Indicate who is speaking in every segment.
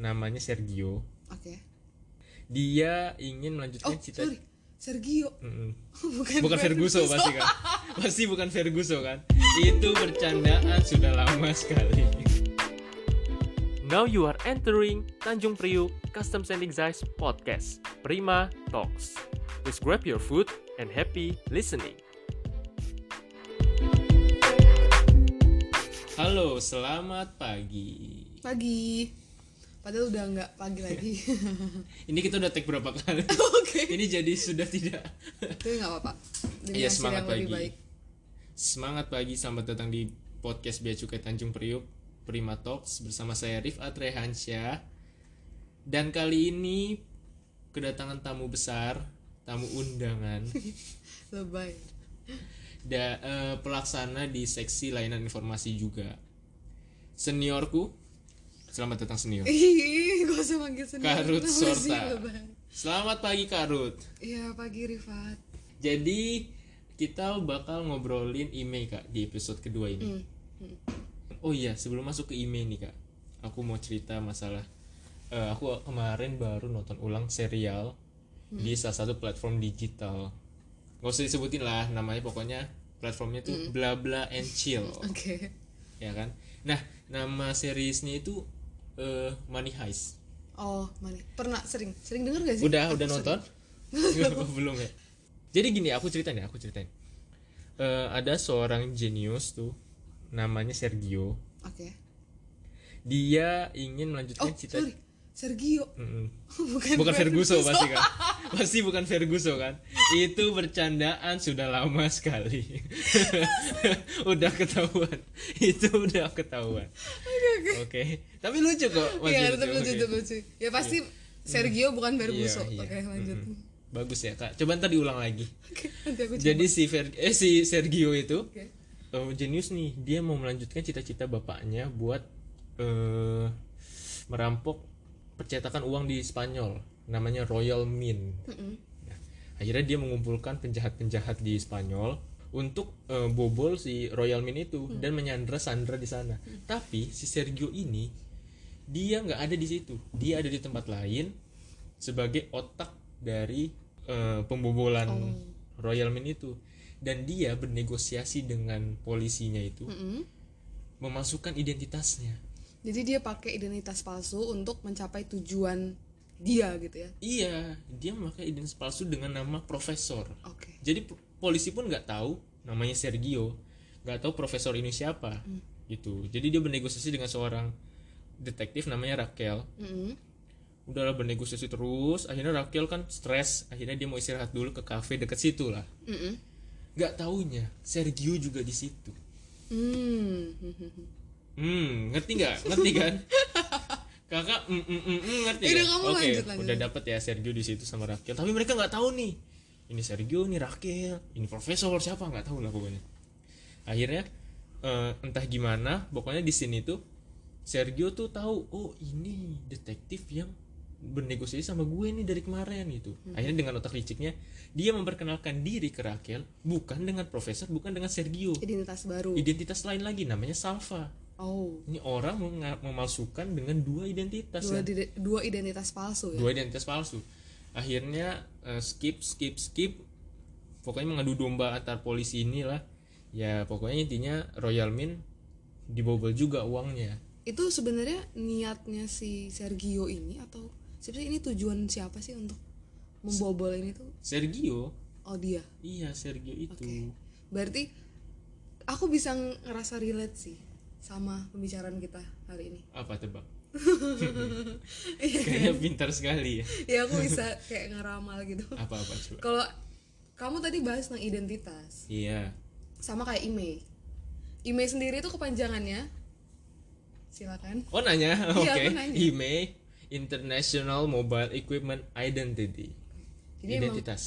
Speaker 1: namanya Sergio
Speaker 2: Oke.
Speaker 1: dia ingin melanjutkan
Speaker 2: Oh,
Speaker 1: cita
Speaker 2: sorry. Sergio.
Speaker 1: Mm-mm.
Speaker 2: Bukan,
Speaker 1: bukan Ferguson pasti kan pasti bukan Ferguson kan itu bercandaan sudah lama sekali
Speaker 3: Now you are entering Tanjung Priuk Custom and Designs Podcast Prima Talks. Please grab your food and happy listening.
Speaker 1: halo selamat pagi
Speaker 2: Pagi. Padahal udah nggak pagi
Speaker 1: Iya.
Speaker 2: lagi.
Speaker 1: ini kita udah take berapa kali
Speaker 2: Oke.
Speaker 1: ini jadi sudah tidak
Speaker 2: Tapi nggak apa-apa. Demi
Speaker 1: Iya
Speaker 2: hasil
Speaker 1: semangat
Speaker 2: yang lebih
Speaker 1: pagi semangat pagi selamat datang di podcast Bea Cukai Tanjung Priuk Prima Talks bersama saya Rifat Rehansyah dan kali ini kedatangan tamu besar tamu undangan
Speaker 2: Lebay.
Speaker 1: da, eh, pelaksana di seksi layanan informasi juga. Seniorku, selamat datang senior.
Speaker 2: Ih, gak usah manggil sendiri.
Speaker 1: Karut
Speaker 2: Kenapa sih
Speaker 1: Sorta.
Speaker 2: lebay?
Speaker 1: Selamat pagi Karut.
Speaker 2: Iya, pagi Rifat.
Speaker 1: Jadi kita bakal ngobrolin IMEI kak di episode kedua ini.
Speaker 2: Hmm. hmm.
Speaker 1: Oh iya, sebelum masuk ke IMEI nih kak, aku mau cerita masalah. eh, aku kemarin baru nonton ulang serial di salah satu platform digital. Gak usah disebutin lah namanya, pokoknya platformnya tuh bla bla and chill.
Speaker 2: Oke.
Speaker 1: ya kan nah nama seriesnya itu eh Money Heist
Speaker 2: Oh, mana? Pernah sering sering denger gak sih? Oh,
Speaker 1: udah udah nonton belum ya jadi gini aku ceritain ya aku ceritain Eh, ada seorang jenius tuh namanya Sergio
Speaker 2: Oke.
Speaker 1: dia ingin
Speaker 2: Oh,
Speaker 1: melanjutkan cita
Speaker 2: sorry. Sergio.
Speaker 1: Mm-mm.
Speaker 2: Bukan
Speaker 1: bukan Ferguson pasti kan pasti bukan Ferguson kan itu bercandaan sudah lama sekali udah ketahuan itu udah ketahuan oke tapi lucu kok masih
Speaker 2: Iya, tetap lucu,
Speaker 1: oke.
Speaker 2: tetap lucu. Ya pasti Sergio bukan Ferguso.
Speaker 1: Iya, iya.
Speaker 2: Oke, lanjut.
Speaker 1: Mm-mm. Bagus ya kak. Coba ntar diulang lagi.
Speaker 2: Oke, nanti aku coba.
Speaker 1: Jadi si Fer- eh si Sergio itu
Speaker 2: Oke.
Speaker 1: eh, jenius nih. Dia mau melanjutkan cita-cita bapaknya buat eh merampok percetakan uang di Spanyol. Namanya Royal Mint.
Speaker 2: Mm-mm.
Speaker 1: Nah, akhirnya dia mengumpulkan penjahat-penjahat di Spanyol untuk eh, bobol si Royal Mint itu dan menyandra Sandra di sana. Tapi si Sergio ini dia nggak ada di situ. Dia ada di tempat lain sebagai otak dari eh, pembobolan Royal Mint itu. Dan dia bernegosiasi dengan polisinya itu
Speaker 2: Mm-mm.
Speaker 1: memasukkan identitasnya.
Speaker 2: Jadi dia pakai identitas palsu untuk mencapai tujuan dia gitu ya.
Speaker 1: Iya, dia memakai identitas palsu dengan nama profesor.
Speaker 2: Oke.
Speaker 1: jadi p- polisi pun nggak tahu namanya Sergio nggak tahu profesor ini siapa gitu jadi dia bernegosiasi dengan seorang detektif namanya Raquel
Speaker 2: Mm-mm.
Speaker 1: udahlah bernegosiasi terus akhirnya Raquel kan stres akhirnya dia mau istirahat dulu ke kafe dekat situ lah
Speaker 2: Mm-mm.
Speaker 1: nggak taunya Sergio juga di situ
Speaker 2: Mm.
Speaker 1: hmm ngerti nggak ngerti kan kakak mm, mm, mm, mm, ngerti
Speaker 2: Ya udah,
Speaker 1: kan?
Speaker 2: kamu
Speaker 1: oke
Speaker 2: lanjut, lanjut.
Speaker 1: udah dapet ya Sergio di situ sama Raquel tapi mereka nggak tahu nih ini Sergio ini Raquel ini profesor siapa nggak tahu lah pokoknya akhirnya eh, entah gimana pokoknya di sini tuh Sergio tuh tahu oh ini detektif yang bernegosiasi sama gue nih dari kemarin gitu
Speaker 2: Hmm.
Speaker 1: akhirnya dengan otak liciknya dia memperkenalkan diri ke Raquel bukan dengan profesor bukan dengan Sergio
Speaker 2: Identitas baru.
Speaker 1: identitas lain lagi namanya Salva
Speaker 2: Oh,
Speaker 1: ini orang menga- memalsukan dengan dua identitas
Speaker 2: dua,
Speaker 1: ya.
Speaker 2: ide- dua identitas palsu ya.
Speaker 1: dua identitas palsu akhirnya eh, skip skip skip pokoknya mengadu domba antar polisi inilah ya pokoknya intinya Royal Mint dibobol juga uangnya
Speaker 2: Itu sebenarnya niatnya si Sergio ini atau sebenarnya ini tujuan siapa sih untuk membobol ini tuh?
Speaker 1: Sergio
Speaker 2: Oh, dia.
Speaker 1: iya Sergio itu
Speaker 2: Oke. Berarti aku bisa ngerasa relate sih sama pembicaraan kita hari ini.
Speaker 1: apa tebak
Speaker 2: Iya.
Speaker 1: kayaknya pintar sekali ya
Speaker 2: ya aku bisa kayak ngeramal gitu.
Speaker 1: apa apa coba
Speaker 2: Kalau kamu tadi bahas tentang identitas
Speaker 1: iya
Speaker 2: sama kayak IMEI. IMEI sendiri itu kepanjangannya silakan.
Speaker 1: oh nanya oke
Speaker 2: Iya, aku nanya.
Speaker 1: IMEI International Mobile Equipment Identity
Speaker 2: Jadi emang
Speaker 1: identitas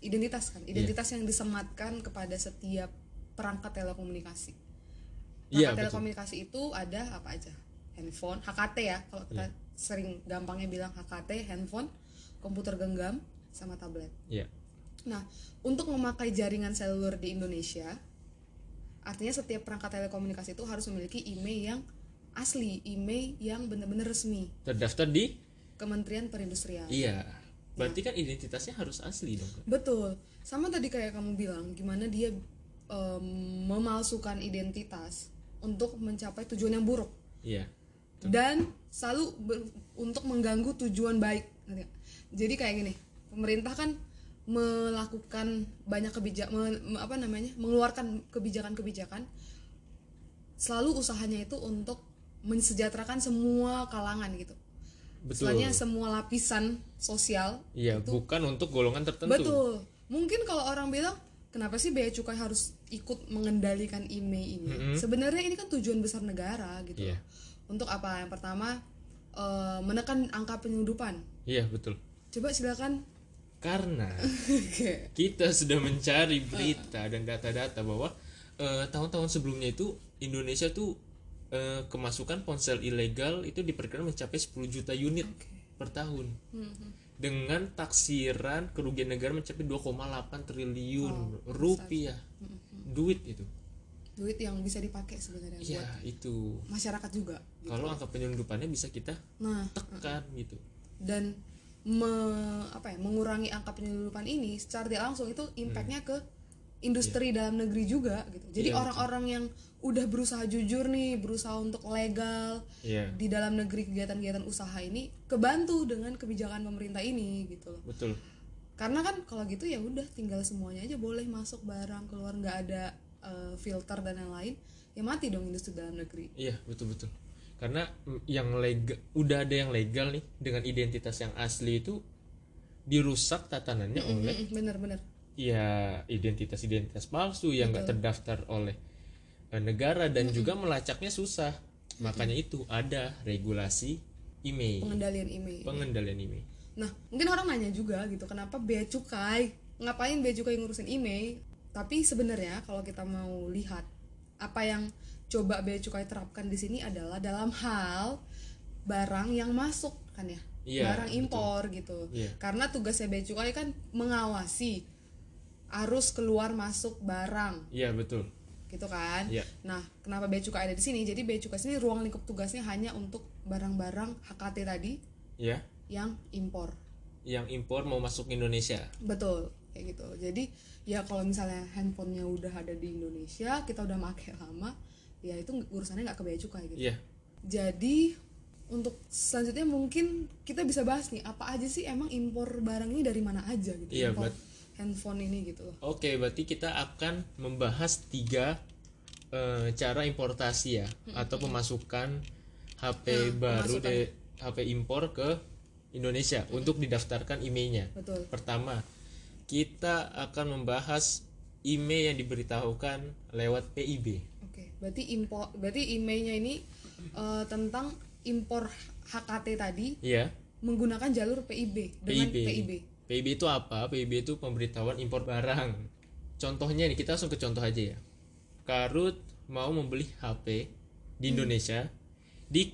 Speaker 1: Iya.
Speaker 2: identitas kan, identitas yang disematkan kepada setiap perangkat telekomunikasi. Perangkat
Speaker 1: Iya, betul.
Speaker 2: telekomunikasi itu ada apa aja? Handphone, HKT ya, kalau kita
Speaker 1: Iya.
Speaker 2: sering gampangnya bilang HKT, handphone, komputer genggam, sama tablet.
Speaker 1: ya
Speaker 2: Nah, untuk memakai jaringan seluler di Indonesia, artinya setiap perangkat telekomunikasi itu harus memiliki IMEI yang asli IMEI yang benar-benar resmi
Speaker 1: Terdaftar di
Speaker 2: Kementerian Perindustrian.
Speaker 1: iya. Berarti kan identitasnya harus asli dong. Kak.
Speaker 2: Betul. Sama tadi kayak kamu bilang gimana dia em, memalsukan identitas untuk mencapai tujuan yang buruk
Speaker 1: Iya.
Speaker 2: dan selalu ber- untuk mengganggu tujuan baik. Ngerti nggak? Jadi kayak gini, pemerintah kan melakukan banyak kebijakan apa namanya? mengeluarkan kebijakan-kebijakan selalu usahanya itu untuk mensejahterakan semua kalangan gitu.
Speaker 1: Betul.
Speaker 2: Soalnya semua lapisan sosial
Speaker 1: Iya, bukan untuk golongan tertentu.
Speaker 2: Betul. Mungkin kalau orang bilang kenapa sih bea cukai harus ikut mengendalikan IMEI ini?
Speaker 1: Mm-mm.
Speaker 2: Sebenarnya ini kan tujuan besar negara gitu.
Speaker 1: Mm-hmm. Iya.
Speaker 2: Untuk apa? Yang pertama eh, menekan angka penyeludupan.
Speaker 1: Iya, betul.
Speaker 2: Coba silakan.
Speaker 1: Karena
Speaker 2: Oke.
Speaker 1: kita sudah mencari berita dan data-data bahwa eh, tahun-tahun sebelumnya itu Indonesia tuh eh, kemasukan ponsel ilegal itu diperkirakan mencapai 10 juta unit per tahun.
Speaker 2: Mm-hmm.
Speaker 1: Dengan taksiran kerugian negara mencapai 2,8
Speaker 2: Oh,
Speaker 1: triliun rupiah.
Speaker 2: Mm-hmm.
Speaker 1: Duit itu.
Speaker 2: Duit yang bisa dipakai sebenarnya
Speaker 1: Iya,
Speaker 2: buat
Speaker 1: itu.
Speaker 2: masyarakat juga.
Speaker 1: Gitu. Kalau angka penyelundupannya bisa kita
Speaker 2: Nah,
Speaker 1: tekan gitu.
Speaker 2: dan me- apa ya, mengurangi angka penyeludupan ini secara tidak langsung itu impactnya ke industri dalam negeri juga gitu.
Speaker 1: Hmm. Iya,
Speaker 2: Jadi
Speaker 1: betul.
Speaker 2: orang-orang yang udah berusaha jujur nih, berusaha untuk legal
Speaker 1: Iya.
Speaker 2: di dalam negeri kegiatan-kegiatan usaha ini kebantu dengan kebijakan pemerintah ini gitu loh.
Speaker 1: Betul.
Speaker 2: Karena kan kalau gitu ya udah tinggal semuanya aja boleh masuk barang keluar nggak ada eh, filter dan lain-lain, ya mati dong industri dalam negeri.
Speaker 1: Iya betul betul. Karena mm, yang legal, udah ada yang legal nih dengan identitas yang asli itu dirusak tatanannya oleh
Speaker 2: Mm-mm, Bener-bener.
Speaker 1: ya identitas-identitas palsu yang nggak terdaftar oleh eh, negara dan juga melacaknya susah. Makanya itu ada regulasi IMEI,
Speaker 2: Pengendalian IMEI.
Speaker 1: pengendalian IMEI.
Speaker 2: Nah, mungkin orang nanya juga gitu, kenapa bea cukai? Ngapain bea cukai ngurusin IMEI? Tapi sebenarnya kalau kita mau lihat apa yang coba bea cukai terapkan di sini adalah dalam hal barang yang masuk kan ya.
Speaker 1: Iya,
Speaker 2: barang
Speaker 1: betul.
Speaker 2: impor gitu.
Speaker 1: Iya.
Speaker 2: Karena tugasnya bea cukai kan mengawasi arus keluar masuk barang
Speaker 1: Iya betul.
Speaker 2: gitu kan.
Speaker 1: Iya.
Speaker 2: Nah, kenapa bea cukai ada di sini? Jadi bea cukai sini ruang lingkup tugasnya hanya untuk barang-barang HKT tadi
Speaker 1: Ya,
Speaker 2: yang impor.
Speaker 1: yang impor mau masuk ke Indonesia.
Speaker 2: Betul, kayak gitu. Jadi ya kalau misalnya handphonenya udah ada di Indonesia, kita udah make lama, ya itu urusannya nggak ke bea cukai gitu.
Speaker 1: Iya.
Speaker 2: Jadi untuk selanjutnya mungkin kita bisa bahas nih apa aja sih emang impor barang ini dari mana aja gitu.
Speaker 1: Iya,
Speaker 2: impor
Speaker 1: bet-
Speaker 2: handphone ini gitu loh.
Speaker 1: Oke, berarti kita akan membahas tiga eh, cara importasi ya, atau pemasukan HP baru
Speaker 2: pemasukan.
Speaker 1: dari HP impor ke Indonesia untuk didaftarkan IMEI-nya.
Speaker 2: Betul.
Speaker 1: Pertama, kita akan membahas IMEI yang diberitahukan lewat PIB.
Speaker 2: Oke, berarti impor berarti emailnya ini eh, tentang impor HKT tadi
Speaker 1: Iya,
Speaker 2: menggunakan jalur PIB dengan
Speaker 1: PIB.
Speaker 2: PIB.
Speaker 1: PIB itu apa? PIB itu pemberitahuan impor barang. Contohnya nih, kita langsung ke contoh aja ya. Karut mau membeli HP di Indonesia di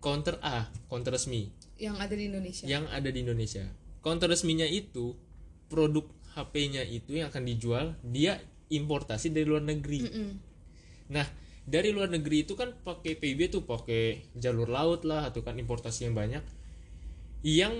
Speaker 1: counter A, counter resmi
Speaker 2: yang ada di Indonesia.
Speaker 1: yang ada di Indonesia. Counter resminya itu produk HP-nya itu yang akan dijual, dia importasi dari luar negeri.
Speaker 2: Mm-mm.
Speaker 1: Nah, dari luar negeri itu kan pakai PIB tuh pakai jalur laut lah atau kan importasi yang banyak. Yang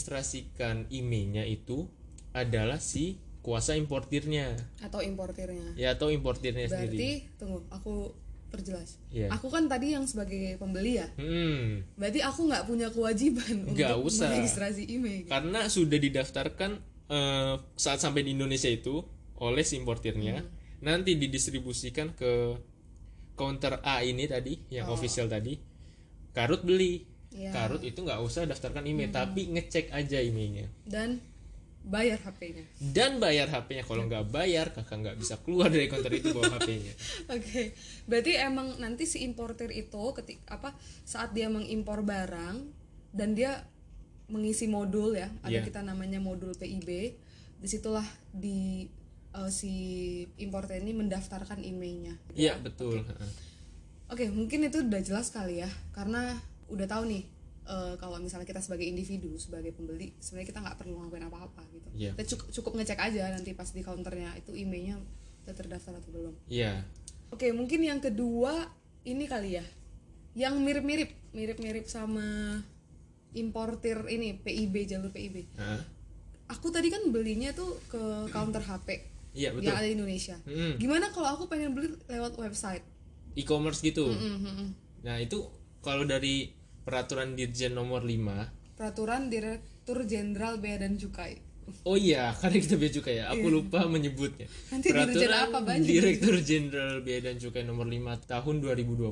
Speaker 1: meregistrasikan IMEI-nya itu adalah si kuasa importirnya
Speaker 2: Atau importirnya.
Speaker 1: ya atau importirnya
Speaker 2: Berarti
Speaker 1: sendiri.
Speaker 2: tunggu, aku perjelas.
Speaker 1: Iya.
Speaker 2: Aku kan tadi yang sebagai pembeli ya.
Speaker 1: Hmm,
Speaker 2: Berarti aku nggak punya kewajiban
Speaker 1: Nggak
Speaker 2: untuk
Speaker 1: usah.
Speaker 2: meregistrasi email.
Speaker 1: karena sudah didaftarkan eh, saat sampai di Indonesia itu oleh si importirnya, nanti didistribusikan ke counter A ini tadi yang official tadi. Karut beli.
Speaker 2: Iya.
Speaker 1: Karut itu nggak usah daftarkan IMEI, tapi ngecek aja IMEI-nya.
Speaker 2: Dan bayar HP-nya.
Speaker 1: dan bayar HP-nya kalau nggak bayar kakak nggak bisa keluar dari konter itu bawa HP-nya
Speaker 2: Oke. Berarti emang nanti si importir itu ketik apa saat dia mengimpor barang dan dia mengisi modul ya, ada
Speaker 1: Iya.
Speaker 2: kita namanya modul PIB. Disitulah di eh, si importer ini mendaftarkan emailnya.
Speaker 1: iya betul
Speaker 2: Oke, mungkin itu udah jelas kali ya, karena udah tahu nih eh, kalau misalnya kita sebagai individu, sebagai pembeli, sebenarnya kita nggak perlu ngelakuin apa-apa gitu.
Speaker 1: Iya.
Speaker 2: Kita cukup, cukup ngecek aja nanti pas di counternya itu emailnya udah terdaftar atau belum.
Speaker 1: iya
Speaker 2: Oke, mungkin yang kedua ini kali ya yang mirip-mirip mirip-mirip sama importir ini PIB jalur PIB
Speaker 1: Hah?
Speaker 2: aku tadi kan belinya tuh ke counter HP
Speaker 1: Iya betul.
Speaker 2: yang ada di Indonesia
Speaker 1: Mm-mm.
Speaker 2: gimana kalau aku pengen beli lewat website
Speaker 1: E-commerce gitu.
Speaker 2: Mm, mm, mm.
Speaker 1: Nah, itu kalau dari peraturan Dirjen nomor 5
Speaker 2: peraturan Direktur Jenderal Bea dan Cukai
Speaker 1: Oh iya, karena kita bea cukai ya. Aku lupa menyebutnya.
Speaker 2: Iya. Nanti dirjen apa banyak.
Speaker 1: Direktur Jenderal Bea dan Cukai nomor 5 tahun 2020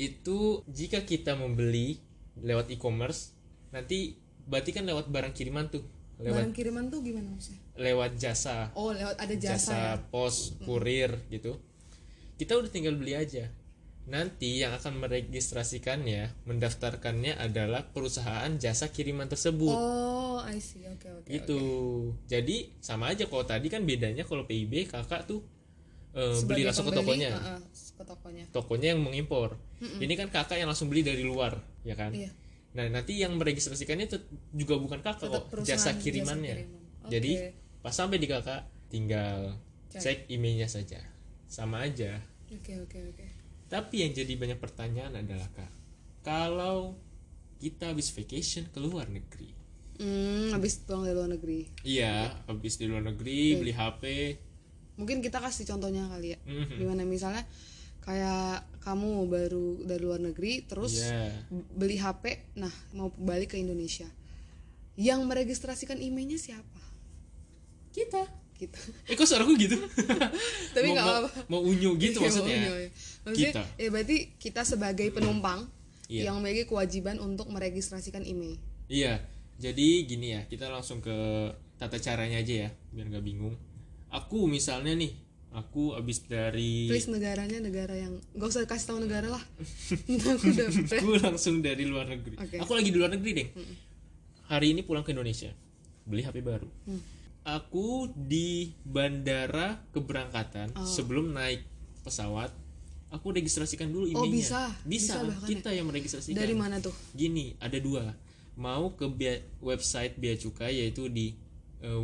Speaker 1: itu jika kita membeli lewat e-commerce, nanti berarti kan lewat barang kiriman tuh, lewat
Speaker 2: barang kiriman tuh gimana maksudnya
Speaker 1: lewat jasa,
Speaker 2: oh lewat ada jasa,
Speaker 1: jasa,
Speaker 2: ya
Speaker 1: pos, kurir gitu. Kita udah tinggal beli aja. Nanti yang akan meregistrasikannya, mendaftarkannya adalah perusahaan jasa kiriman tersebut
Speaker 2: oh I see oke oke
Speaker 1: gitu jadi sama aja kalau tadi kan bedanya kalau PIB kakak tuh eh,
Speaker 2: Sebagai
Speaker 1: beli langsung ke
Speaker 2: pembeli,
Speaker 1: tokonya
Speaker 2: uh-uh, ke tokonya
Speaker 1: tokonya yang mengimpor ini kan kakak yang langsung beli dari luar ya kan
Speaker 2: Iya.
Speaker 1: nah nanti yang meregistrasikannya tet- juga bukan kakak
Speaker 2: Tetap
Speaker 1: kok
Speaker 2: perusahaan
Speaker 1: jasa
Speaker 2: jasa
Speaker 1: kirimannya
Speaker 2: kiriman. Oke.
Speaker 1: jadi pas sampai di kakak tinggal
Speaker 2: Cek.
Speaker 1: cek emailnya saja sama aja
Speaker 2: oke oke oke
Speaker 1: tapi yang jadi banyak pertanyaan adalah kak kalau kita habis vacation ke luar negeri
Speaker 2: hmm habis pulang dari luar negeri
Speaker 1: iya habis di luar negeri beli HP
Speaker 2: mungkin kita kasih contohnya kali ya
Speaker 1: Mhm.
Speaker 2: gimana misalnya kayak kamu baru dari luar negeri terus
Speaker 1: Iya.
Speaker 2: beli HP nah mau balik ke Indonesia yang meregistrasikan emailnya siapa
Speaker 1: kita
Speaker 2: kita
Speaker 1: eh kok suaraku gitu
Speaker 2: Tapi
Speaker 1: Mau-
Speaker 2: nggak
Speaker 1: mau-
Speaker 2: apa-apa.
Speaker 1: mau unyu gitu
Speaker 2: Iya,
Speaker 1: maksudnya
Speaker 2: iya, iya. Maksudnya,
Speaker 1: Kita.
Speaker 2: ya berarti kita sebagai penumpang
Speaker 1: Iya.
Speaker 2: yang memiliki kewajiban untuk meregistrasikan email
Speaker 1: iya jadi gini ya kita langsung ke tata caranya aja ya biar nggak bingung aku misalnya nih aku abis dari
Speaker 2: please negaranya negara yang gak usah kasih tahu negara lah aku udah
Speaker 1: aku langsung dari luar negeri
Speaker 2: Oke.
Speaker 1: aku lagi di luar negeri deh hari ini pulang ke Indonesia beli HP baru
Speaker 2: Mm.
Speaker 1: aku di bandara keberangkatan
Speaker 2: Oh.
Speaker 1: sebelum naik pesawat aku registrasikan dulu
Speaker 2: Oh,
Speaker 1: emailnya
Speaker 2: bisa.
Speaker 1: bisa,
Speaker 2: Bisa bahkan ya?
Speaker 1: kita yang meregistrasikan
Speaker 2: dari mana tuh
Speaker 1: gini ada dua mau ke bea- website bea cukai yaitu di eh,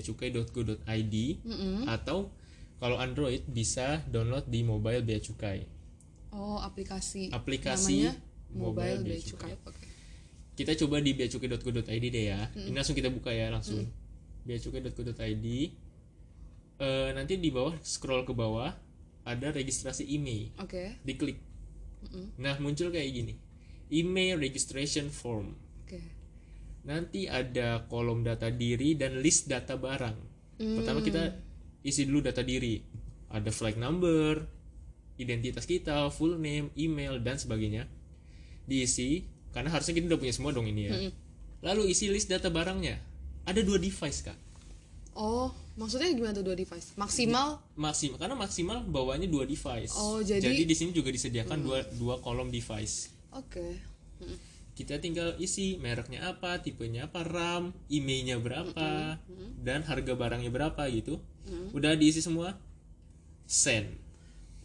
Speaker 1: www.beacukai.go.id
Speaker 2: Mm-mm.
Speaker 1: atau kalau Android bisa download di mobile bea cukai
Speaker 2: oh aplikasi
Speaker 1: Aplikasi
Speaker 2: namanya mobile
Speaker 1: Mobile
Speaker 2: bea
Speaker 1: Bea
Speaker 2: cukai Hmm. Oke.
Speaker 1: kita coba di beacukai.go.id deh ya ini langsung kita buka ya langsung
Speaker 2: Hmm.
Speaker 1: beacukai.go.id Eh, nanti di bawah scroll ke bawah ada registrasi email
Speaker 2: oke
Speaker 1: diklik
Speaker 2: Mm-mm.
Speaker 1: nah muncul kayak gini email registration form
Speaker 2: oke
Speaker 1: nanti ada kolom data diri dan list data barang.
Speaker 2: Hmm.
Speaker 1: Pertama kita isi dulu data diri. Ada flag number, identitas kita, full name, email dan sebagainya. Diisi karena harusnya kita udah punya semua dong ini ya.
Speaker 2: Hmm.
Speaker 1: Lalu isi list data barangnya. Ada dua device, Kak.
Speaker 2: oh maksudnya gimana tuh dua device maksimal
Speaker 1: Maksimal karena maksimal bawanya dua device.
Speaker 2: Oh, jadi-
Speaker 1: di sini juga disediakan dua dua kolom device.
Speaker 2: oke Mm-mm.
Speaker 1: kita tinggal isi mereknya apa, tipenya apa, RAM, emailnya berapa, dan harga barangnya berapa gitu. Udah diisi semua, send.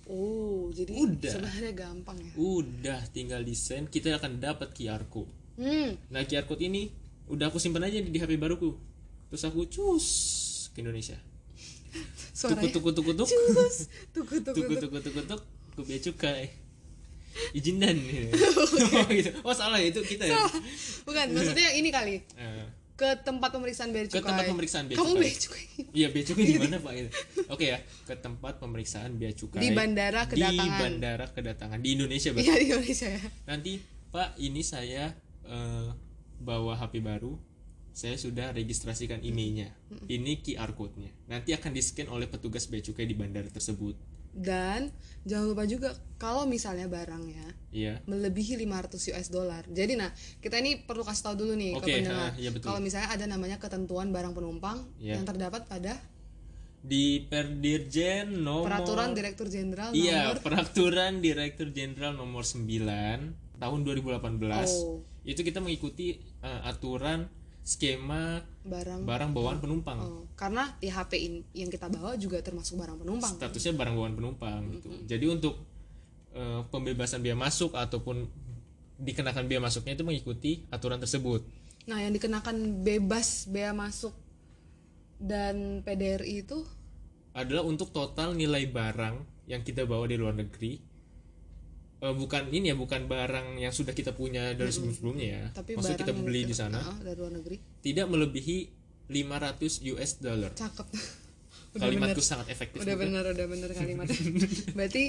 Speaker 2: oh jadi
Speaker 1: Udah.
Speaker 2: sebenarnya gampang ya
Speaker 1: Udah tinggal di send, kita akan dapat QR code.
Speaker 2: hmm
Speaker 1: Nah QR code ini udah aku simpan aja di HP baruku. Terus aku cus ke Indonesia. Tuk
Speaker 2: suaranya
Speaker 1: tuk tuk tuk tuk
Speaker 2: ya? Cus. tuku tuku
Speaker 1: tuk
Speaker 2: tuku
Speaker 1: tuk tuk tuk ke bea cukai. Izin dan oh, gitu. oh salah ya itu kita ya.
Speaker 2: bukan maksudnya yang ini kali
Speaker 1: Eh,
Speaker 2: ke tempat pemeriksaan bea cukai.
Speaker 1: Ke tempat pemeriksaan bea
Speaker 2: Kamu
Speaker 1: cukai.
Speaker 2: bea cukai.
Speaker 1: Iya bea cukai di mana pak? Itu. Oke ya ke tempat pemeriksaan bea cukai
Speaker 2: Di bandara kedatangan.
Speaker 1: Di bandara kedatangan di Indonesia Pak.
Speaker 2: Iya di Indonesia ya.
Speaker 1: Nanti Pak ini saya eh, bawa HP baru, saya sudah registrasikan emailnya. Ini QR code-nya. Nanti akan di scan oleh petugas bea cukai di bandara tersebut.
Speaker 2: Dan jangan lupa juga kalau misalnya barangnya
Speaker 1: Iya.
Speaker 2: melebihi 500 US dollar. Jadi nah, kita ini perlu kasih tahu dulu nih
Speaker 1: Oke,
Speaker 2: ke
Speaker 1: ha,
Speaker 2: pendengar.
Speaker 1: iya betul.
Speaker 2: Kalau misalnya ada namanya ketentuan barang penumpang
Speaker 1: Iya.
Speaker 2: yang terdapat pada
Speaker 1: Di Perdirjen nomor
Speaker 2: peraturan Direktur Jenderal
Speaker 1: Iya,
Speaker 2: nomor
Speaker 1: peraturan Direktur Jenderal nomor 9 tahun 2018.
Speaker 2: Oh.
Speaker 1: Itu kita mengikuti eh, aturan skema
Speaker 2: barang
Speaker 1: barang bawaan penumpang.
Speaker 2: Oh, karena di HP in- yang kita bawa juga termasuk barang penumpang.
Speaker 1: Statusnya barang bawaan penumpang gitu. Jadi untuk eh, pembebasan biaya masuk ataupun dikenakan biaya masuknya itu mengikuti aturan tersebut.
Speaker 2: Nah, yang dikenakan bebas bea masuk dan PDRI itu
Speaker 1: Adalah untuk total nilai barang yang kita bawa di luar negeri eh, eh, bukan ini ya bukan barang yang sudah kita punya dari sebelum sebelumnya ya
Speaker 2: tapi
Speaker 1: maksud
Speaker 2: barang
Speaker 1: kita
Speaker 2: yang
Speaker 1: beli
Speaker 2: kita-
Speaker 1: di sana
Speaker 2: Ah, dari luar negeri
Speaker 1: tidak melebihi 500 US dollar
Speaker 2: cakep udah bener
Speaker 1: kalimatku sangat efektif
Speaker 2: udah
Speaker 1: bukan?
Speaker 2: bener udah bener kalimatnya berarti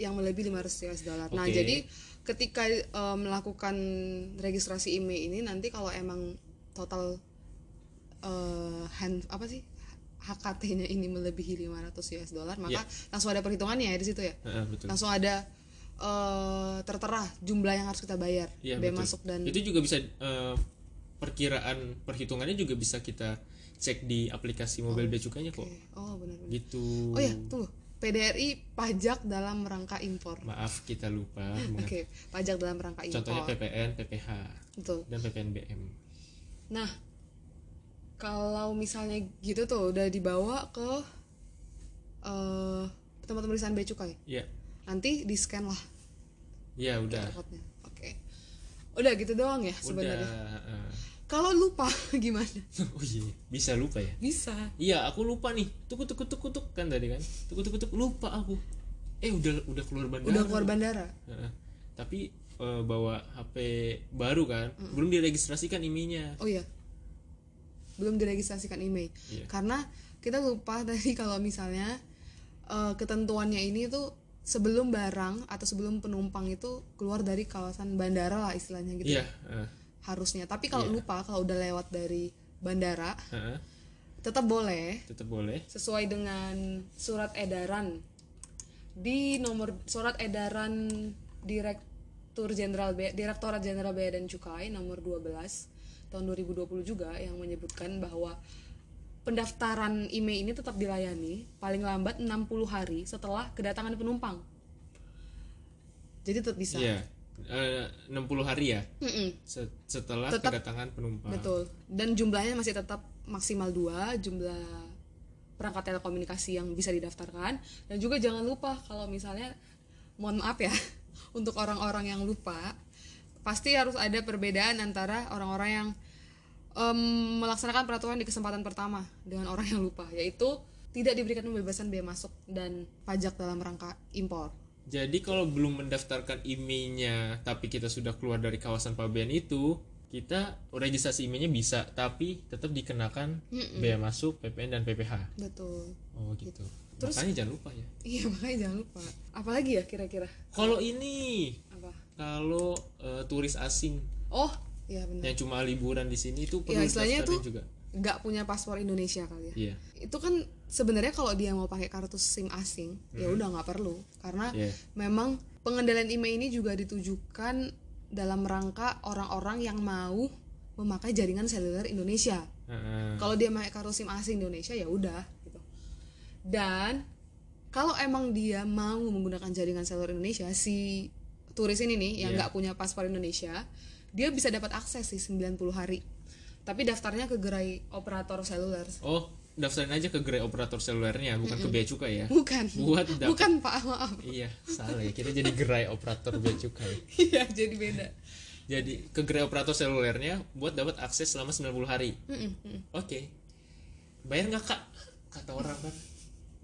Speaker 2: yang melebihi 500 US dollar nah
Speaker 1: Oke.
Speaker 2: jadi ketika eh, melakukan registrasi IMEI ini nanti kalau emang total eh, hand apa sih HKT-nya ini melebihi 500 US dollar maka
Speaker 1: Iya.
Speaker 2: langsung ada perhitungannya ya di situ ya
Speaker 1: Heeh, betul
Speaker 2: langsung ada eh, tertera jumlah yang harus kita bayar
Speaker 1: Iya,
Speaker 2: biaya
Speaker 1: betul.
Speaker 2: masuk dan
Speaker 1: itu juga bisa eh, perkiraan perhitungannya juga bisa kita cek di aplikasi mobile bea cukainya kok
Speaker 2: Oke. oh benar-benar
Speaker 1: gitu
Speaker 2: Oh ya, tunggu. PDRI pajak dalam rangka impor.
Speaker 1: maaf kita lupa
Speaker 2: Oke,
Speaker 1: mengat-
Speaker 2: pajak dalam rangka impor.
Speaker 1: Iya. contohnya PPN PPH
Speaker 2: Betul.
Speaker 1: dan PPNBM
Speaker 2: Nah, kalau misalnya gitu tuh udah dibawa ke eh tempat pemeriksaan bea cukai.
Speaker 1: ya
Speaker 2: Nanti di scan lah
Speaker 1: ya udah
Speaker 2: rapotnya. Oke. Udah gitu doang ya
Speaker 1: udah
Speaker 2: sebenarnya.
Speaker 1: heeh.
Speaker 2: Kalau lupa gimana?
Speaker 1: oh iya bisa lupa ya
Speaker 2: Bisa.
Speaker 1: Iya, aku lupa nih. Tuk tuk tuk tuk kan tadi kan. Tuk tuk tuk lupa aku. Eh udah udah keluar bandara.
Speaker 2: Udah keluar bandara.
Speaker 1: Heeh. Tapi eh, bawa HP baru kan, belum diregistrasikan IMI-nya.
Speaker 2: Oh iya. Belum diregistrasikan IMEI.
Speaker 1: Iya.
Speaker 2: Karena kita lupa tadi kalau misalnya eh, ketentuannya ini tuh sebelum barang atau sebelum penumpang itu keluar dari kawasan bandara lah istilahnya gitu.
Speaker 1: Iya, heeh.
Speaker 2: Harusnya. Tapi kalau
Speaker 1: Iya.
Speaker 2: lupa kalau udah lewat dari bandara
Speaker 1: Heeh,
Speaker 2: tetap boleh
Speaker 1: eh, tetap boleh.
Speaker 2: sesuai dengan surat edaran di nomor surat edaran Direktur Jenderal Bea- Direktorat Jenderal Bea dan Cukai nomor 12 tahun 2020 juga yang menyebutkan bahwa pendaftaran IMEI ini tetap dilayani paling lambat 60 hari setelah kedatangan penumpang. Jadi tetap bisa.
Speaker 1: Iya. Eh, 60 hari ya
Speaker 2: Mm-mm.
Speaker 1: se- setelah
Speaker 2: Tetap-
Speaker 1: kedatangan penumpang.
Speaker 2: Betul. Dan jumlahnya masih tetap maksimal dua jumlah perangkat telekomunikasi yang bisa didaftarkan. Dan juga jangan lupa kalau misalnya, mohon maaf ya, untuk orang-orang yang lupa, pasti harus ada perbedaan antara orang-orang yang em, melaksanakan peraturan di kesempatan pertama dengan orang yang lupa, yaitu tidak diberikan pembebasan biaya masuk dan pajak dalam rangka impor.
Speaker 1: Jadi kalau belum mendaftarkan IMI-nya tapi kita sudah keluar dari kawasan pabean itu, kita registrasi IMI-nya bisa tapi tetap dikenakan bea masuk, PPN dan PPH.
Speaker 2: Betul.
Speaker 1: Oh gitu.
Speaker 2: Terus-
Speaker 1: Makanya jangan lupa ya.
Speaker 2: Iya makanya jangan lupa. Apalagi ya kira-kira
Speaker 1: Kalau ini,
Speaker 2: apa?
Speaker 1: kalau eh, turis asing
Speaker 2: Oh, iya benar.
Speaker 1: yang cuma liburan di sini itu perlu
Speaker 2: Ya, istilahnya
Speaker 1: daftarin
Speaker 2: tuh-
Speaker 1: juga.
Speaker 2: nggak punya paspor Indonesia kali ya.
Speaker 1: Iya.
Speaker 2: Itu kan sebenarnya kalau dia mau pakai kartu SIM asing, ya udah nggak perlu karena
Speaker 1: Iya.
Speaker 2: memang pengendalian IMEI ini juga ditujukan dalam rangka orang-orang yang mau memakai jaringan seluler Indonesia.
Speaker 1: Heeh.
Speaker 2: Kalau dia pakai kartu SIM asing di Indonesia ya udah gitu. Dan kalau emang dia mau menggunakan jaringan seluler Indonesia si turis ini nih yang
Speaker 1: Iya.
Speaker 2: nggak punya paspor Indonesia, dia bisa dapat akses sih 90 hari. Tapi daftarnya ke gerai operator seluler.
Speaker 1: Oh, daftarin aja ke gerai operator selulernya, bukan ke bea cukai ya.
Speaker 2: Bukan.
Speaker 1: Buat dapat-
Speaker 2: Bukan Pak, maaf.
Speaker 1: iya, salah ya. Kita jadi gerai operator bea cukai.
Speaker 2: Iya, jadi beda.
Speaker 1: Jadi ke gerai operator selulernya buat dapat akses selama 90 hari.
Speaker 2: Mm-mm, mm-mm.
Speaker 1: Oke. Bayar nggak kak? Kata orang kan.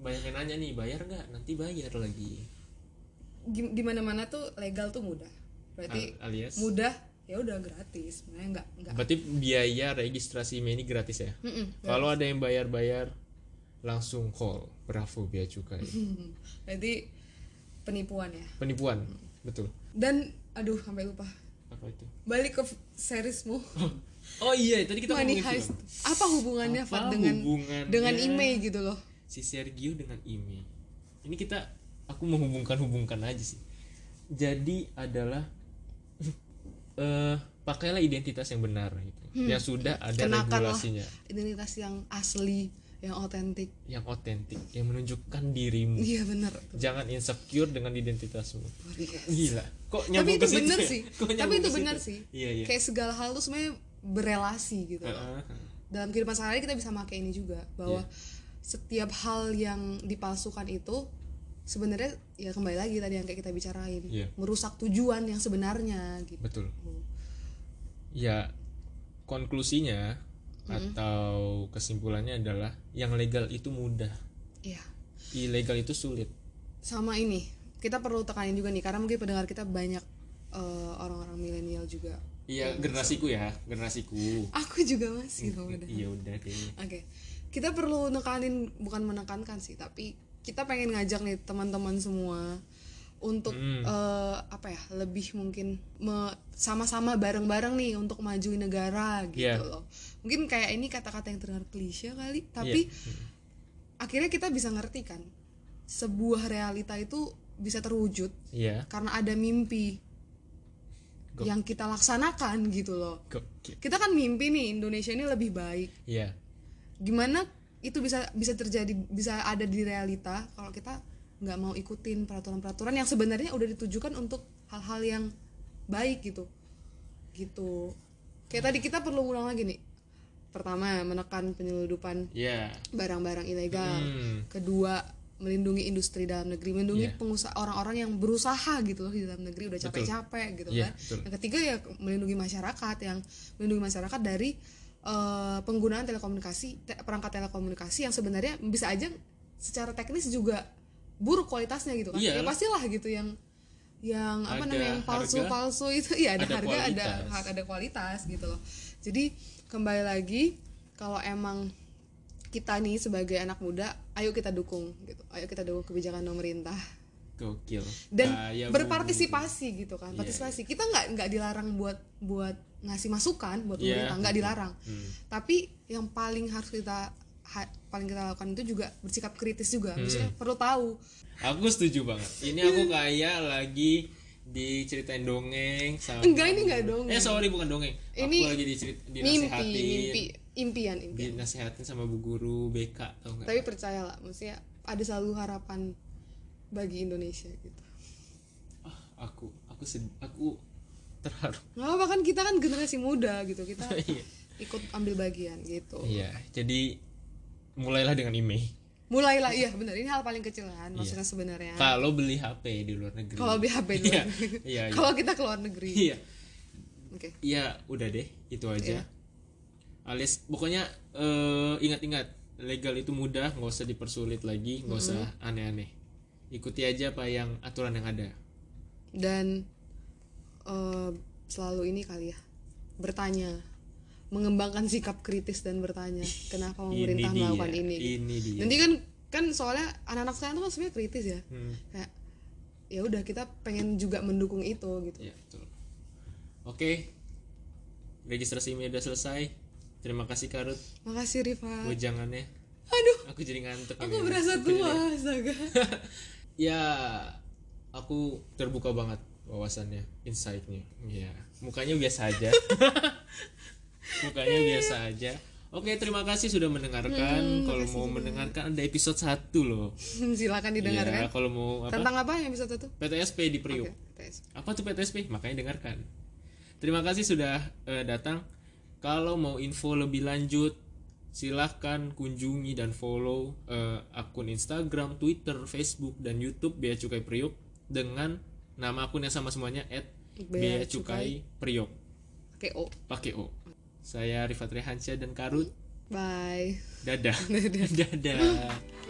Speaker 1: Banyak yang nanya nih, bayar nggak? Nanti bayar lagi.
Speaker 2: Gim- Di mana-mana tuh legal tuh mudah. Berarti
Speaker 1: Al- alias.
Speaker 2: mudah ya udah gratis. Sebenarnya nggak nggak.
Speaker 1: Berarti biaya registrasi IMEI ini gratis ya?
Speaker 2: Mm-mm.
Speaker 1: Kalau ada yang bayar-bayar langsung call Bravo Bea Cukai.
Speaker 2: Berarti penipuan ya.
Speaker 1: Penipuan. Betul.
Speaker 2: Dan aduh sampai lupa.
Speaker 1: Apa itu?
Speaker 2: Balik ke f- seriesmu.
Speaker 1: Oh iya, tadi kita
Speaker 2: Money
Speaker 1: ngomongin film.
Speaker 2: heist. Apa hubungannya
Speaker 1: Apa
Speaker 2: Fat dengan
Speaker 1: hubungannya?
Speaker 2: dengan IMEI gitu loh?
Speaker 1: Si Sergio dengan IMEI. Ini kita aku menghubungkan-hubungkan aja sih. Jadi adalah eh pakailah identitas yang benar gitu.
Speaker 2: Hmm.
Speaker 1: Yang sudah ada
Speaker 2: Kenakanlah
Speaker 1: regulasinya,
Speaker 2: identitas yang asli, yang otentik.
Speaker 1: yang otentik, yang menunjukkan dirimu.
Speaker 2: Iya bener
Speaker 1: Jangan insecure dengan identitasmu. Gila. Kok
Speaker 2: tapi
Speaker 1: nyambung
Speaker 2: itu
Speaker 1: ke situ
Speaker 2: benar
Speaker 1: ya?
Speaker 2: sih
Speaker 1: Kok
Speaker 2: tapi
Speaker 1: nyambung
Speaker 2: itu
Speaker 1: ke situ?
Speaker 2: benar sih
Speaker 1: Iya, iya.
Speaker 2: kayak segala hal tuh sebenarnya berelasi gitu loh.
Speaker 1: Heeh. Iya.
Speaker 2: dalam kehidupan sehari kita bisa pakai ini juga bahwa setiap hal yang dipalsukan itu sebenarnya ya kembali lagi tadi yang kayak kita bicarain
Speaker 1: Iya.
Speaker 2: merusak tujuan yang sebenarnya gitu
Speaker 1: Betul. Ya konklusinya
Speaker 2: Hmm.
Speaker 1: atau kesimpulannya adalah yang legal itu mudah,
Speaker 2: Iya
Speaker 1: ilegal itu sulit.
Speaker 2: sama ini kita perlu tekanin juga nih karena mungkin pendengar kita banyak eh, orang-orang milenial juga
Speaker 1: Iya, generasiku ya, generasiku.
Speaker 2: aku juga masih loh padahal.
Speaker 1: Iya udah deh.
Speaker 2: Oke, kita perlu nekanin bukan menekankan sih, tapi kita pengen ngajak nih teman-teman semua untuk
Speaker 1: Hmm.
Speaker 2: eh, apa ya lebih mungkin me- sama-sama bareng-bareng nih untuk maju negara gitu
Speaker 1: Iya.
Speaker 2: loh. Mungkin kayak ini kata-kata yang terdengar klise
Speaker 1: Iya.
Speaker 2: kali, tapi akhirnya kita bisa ngerti kan sebuah realita itu bisa terwujud
Speaker 1: Iya.
Speaker 2: karena ada mimpi
Speaker 1: Gok.
Speaker 2: yang kita laksanakan gitu loh.
Speaker 1: Gokil.
Speaker 2: Kita kan mimpi nih Indonesia ini lebih baik
Speaker 1: Iya.
Speaker 2: gimana itu bisa bisa terjadi bisa ada di realita kalau kita nggak mau ikutin peraturan-peraturan yang sebenarnya udah ditujukan untuk hal-hal yang baik gitu gitu kayak tadi kita perlu ulang lagi nih pertama menekan penyeludupan
Speaker 1: Iya.
Speaker 2: barang-barang ilegal
Speaker 1: Hmm.
Speaker 2: kedua melindungi industri dalam negeri melindungi
Speaker 1: Iya.
Speaker 2: pengusaha orang-orang yang berusaha gitu loh di dalam negeri udah
Speaker 1: Betul.
Speaker 2: capek-capek gitu
Speaker 1: Iya,
Speaker 2: kan
Speaker 1: betul.
Speaker 2: yang ketiga ya melindungi masyarakat yang melindungi masyarakat dari eh, penggunaan telekomunikasi te- perangkat telekomunikasi yang sebenarnya bisa aja secara teknis juga buruk kualitasnya gitu kan ya
Speaker 1: Iyalah.
Speaker 2: pastilah gitu yang yang apa
Speaker 1: Ada
Speaker 2: namanya yang
Speaker 1: Iya. harga,
Speaker 2: palsu-palsu itu iya ada,
Speaker 1: ada
Speaker 2: harga ada
Speaker 1: kualitas.
Speaker 2: har- ada kualitas gitu loh jadi kembali lagi kalau emang kita nih sebagai anak muda ayo kita dukung gitu ayo kita dukung kebijakan pemerintah
Speaker 1: Gokil.
Speaker 2: dan
Speaker 1: Kaya bumbu.
Speaker 2: berpartisipasi gitu kan
Speaker 1: Iya,
Speaker 2: partisipasi kita nggak nggak dilarang buat buat ngasih masukan buat
Speaker 1: Iya,
Speaker 2: pemerintah nggak
Speaker 1: betul.
Speaker 2: dilarang
Speaker 1: Hmm.
Speaker 2: tapi yang paling harus kita ha- paling kita lakukan itu juga bersikap kritis juga
Speaker 1: Hmm.
Speaker 2: maksudnya perlu tahu
Speaker 1: Aku setuju banget. Ini aku
Speaker 2: Iya.
Speaker 1: kayak lagi diceritain dongeng sama
Speaker 2: Enggak, ini enggak dongeng.
Speaker 1: Eh sorry bukan dongeng.
Speaker 2: Ini
Speaker 1: aku lagi dicerit
Speaker 2: mimpi
Speaker 1: dinasehatin,
Speaker 2: mimpi impian impian
Speaker 1: dinasehatin sama bu guru BK tau nggak?
Speaker 2: tapi percayalah maksudnya ada selalu harapan bagi Indonesia gitu
Speaker 1: Ah, aku aku sed- aku terharu.
Speaker 2: nggak apa kan kita kan generasi muda gitu kita
Speaker 1: Iya.
Speaker 2: ikut ambil bagian gitu
Speaker 1: Iya. Jadi mulailah dengan email.
Speaker 2: mulailah iya benar ini hal paling kecil
Speaker 1: Iya.
Speaker 2: kan maksudnya sebenarnya
Speaker 1: Kalau beli HP di luar negeri.
Speaker 2: kalau BHP dulu
Speaker 1: Iya. Iya. iya.
Speaker 2: kalau kita keluar negeri
Speaker 1: Iya.
Speaker 2: oke
Speaker 1: Iya, udah deh, itu aja.
Speaker 2: Iya.
Speaker 1: Alias pokoknya eh, ingat-ingat, legal itu mudah, nggak usah dipersulit lagi, nggak usah aneh-aneh. Ikuti aja apa yang aturan yang ada.
Speaker 2: Nah, dan eh, selalu ini kali ya bertanya mengembangkan sikap kritis dan bertanya kenapa pemerintah
Speaker 1: dia,
Speaker 2: melakukan ini gitu.
Speaker 1: Ini dia.
Speaker 2: nanti kan kan soalnya anak-anak sekarang tuh kan sebenarnya kritis ya
Speaker 1: Hmm,
Speaker 2: kayak ya udah kita pengen juga mendukung itu gitu
Speaker 1: iya, betul. Oke. Registrasi email udah selesai. Terima kasih Karut
Speaker 2: makasih Rifa
Speaker 1: wejangannya.
Speaker 2: aduh
Speaker 1: Aku jadi ngantuk
Speaker 2: aku
Speaker 1: ini.
Speaker 2: berasa
Speaker 1: jadi-
Speaker 2: tua astaga
Speaker 1: ya aku terbuka banget wawasannya insightnya ya mukanya biasa aja mukanya biasa aja oke terima kasih sudah
Speaker 2: Hmm,
Speaker 1: mendengarkan kalau mau mendengarkan ada episode 1 loh
Speaker 2: silakan
Speaker 1: ya
Speaker 2: didengarkan
Speaker 1: kalau mau apa
Speaker 2: tentang apa yang bisa tuh
Speaker 1: PTSP di Priuk
Speaker 2: Oke, tes.
Speaker 1: apa tuh PTSP makanya dengarkan terima kasih sudah eh, datang kalau mau info lebih lanjut silahkan kunjungi dan follow eh, akun Instagram, Twitter, Facebook dan YouTube Bea Cukai Priok dengan nama akun yang sama semuanya at Bea
Speaker 2: Bea
Speaker 1: Cukai Priok
Speaker 2: oke oh
Speaker 1: pakai O saya Rifat Rehansyah dan Karut
Speaker 2: bye
Speaker 1: dadah dadah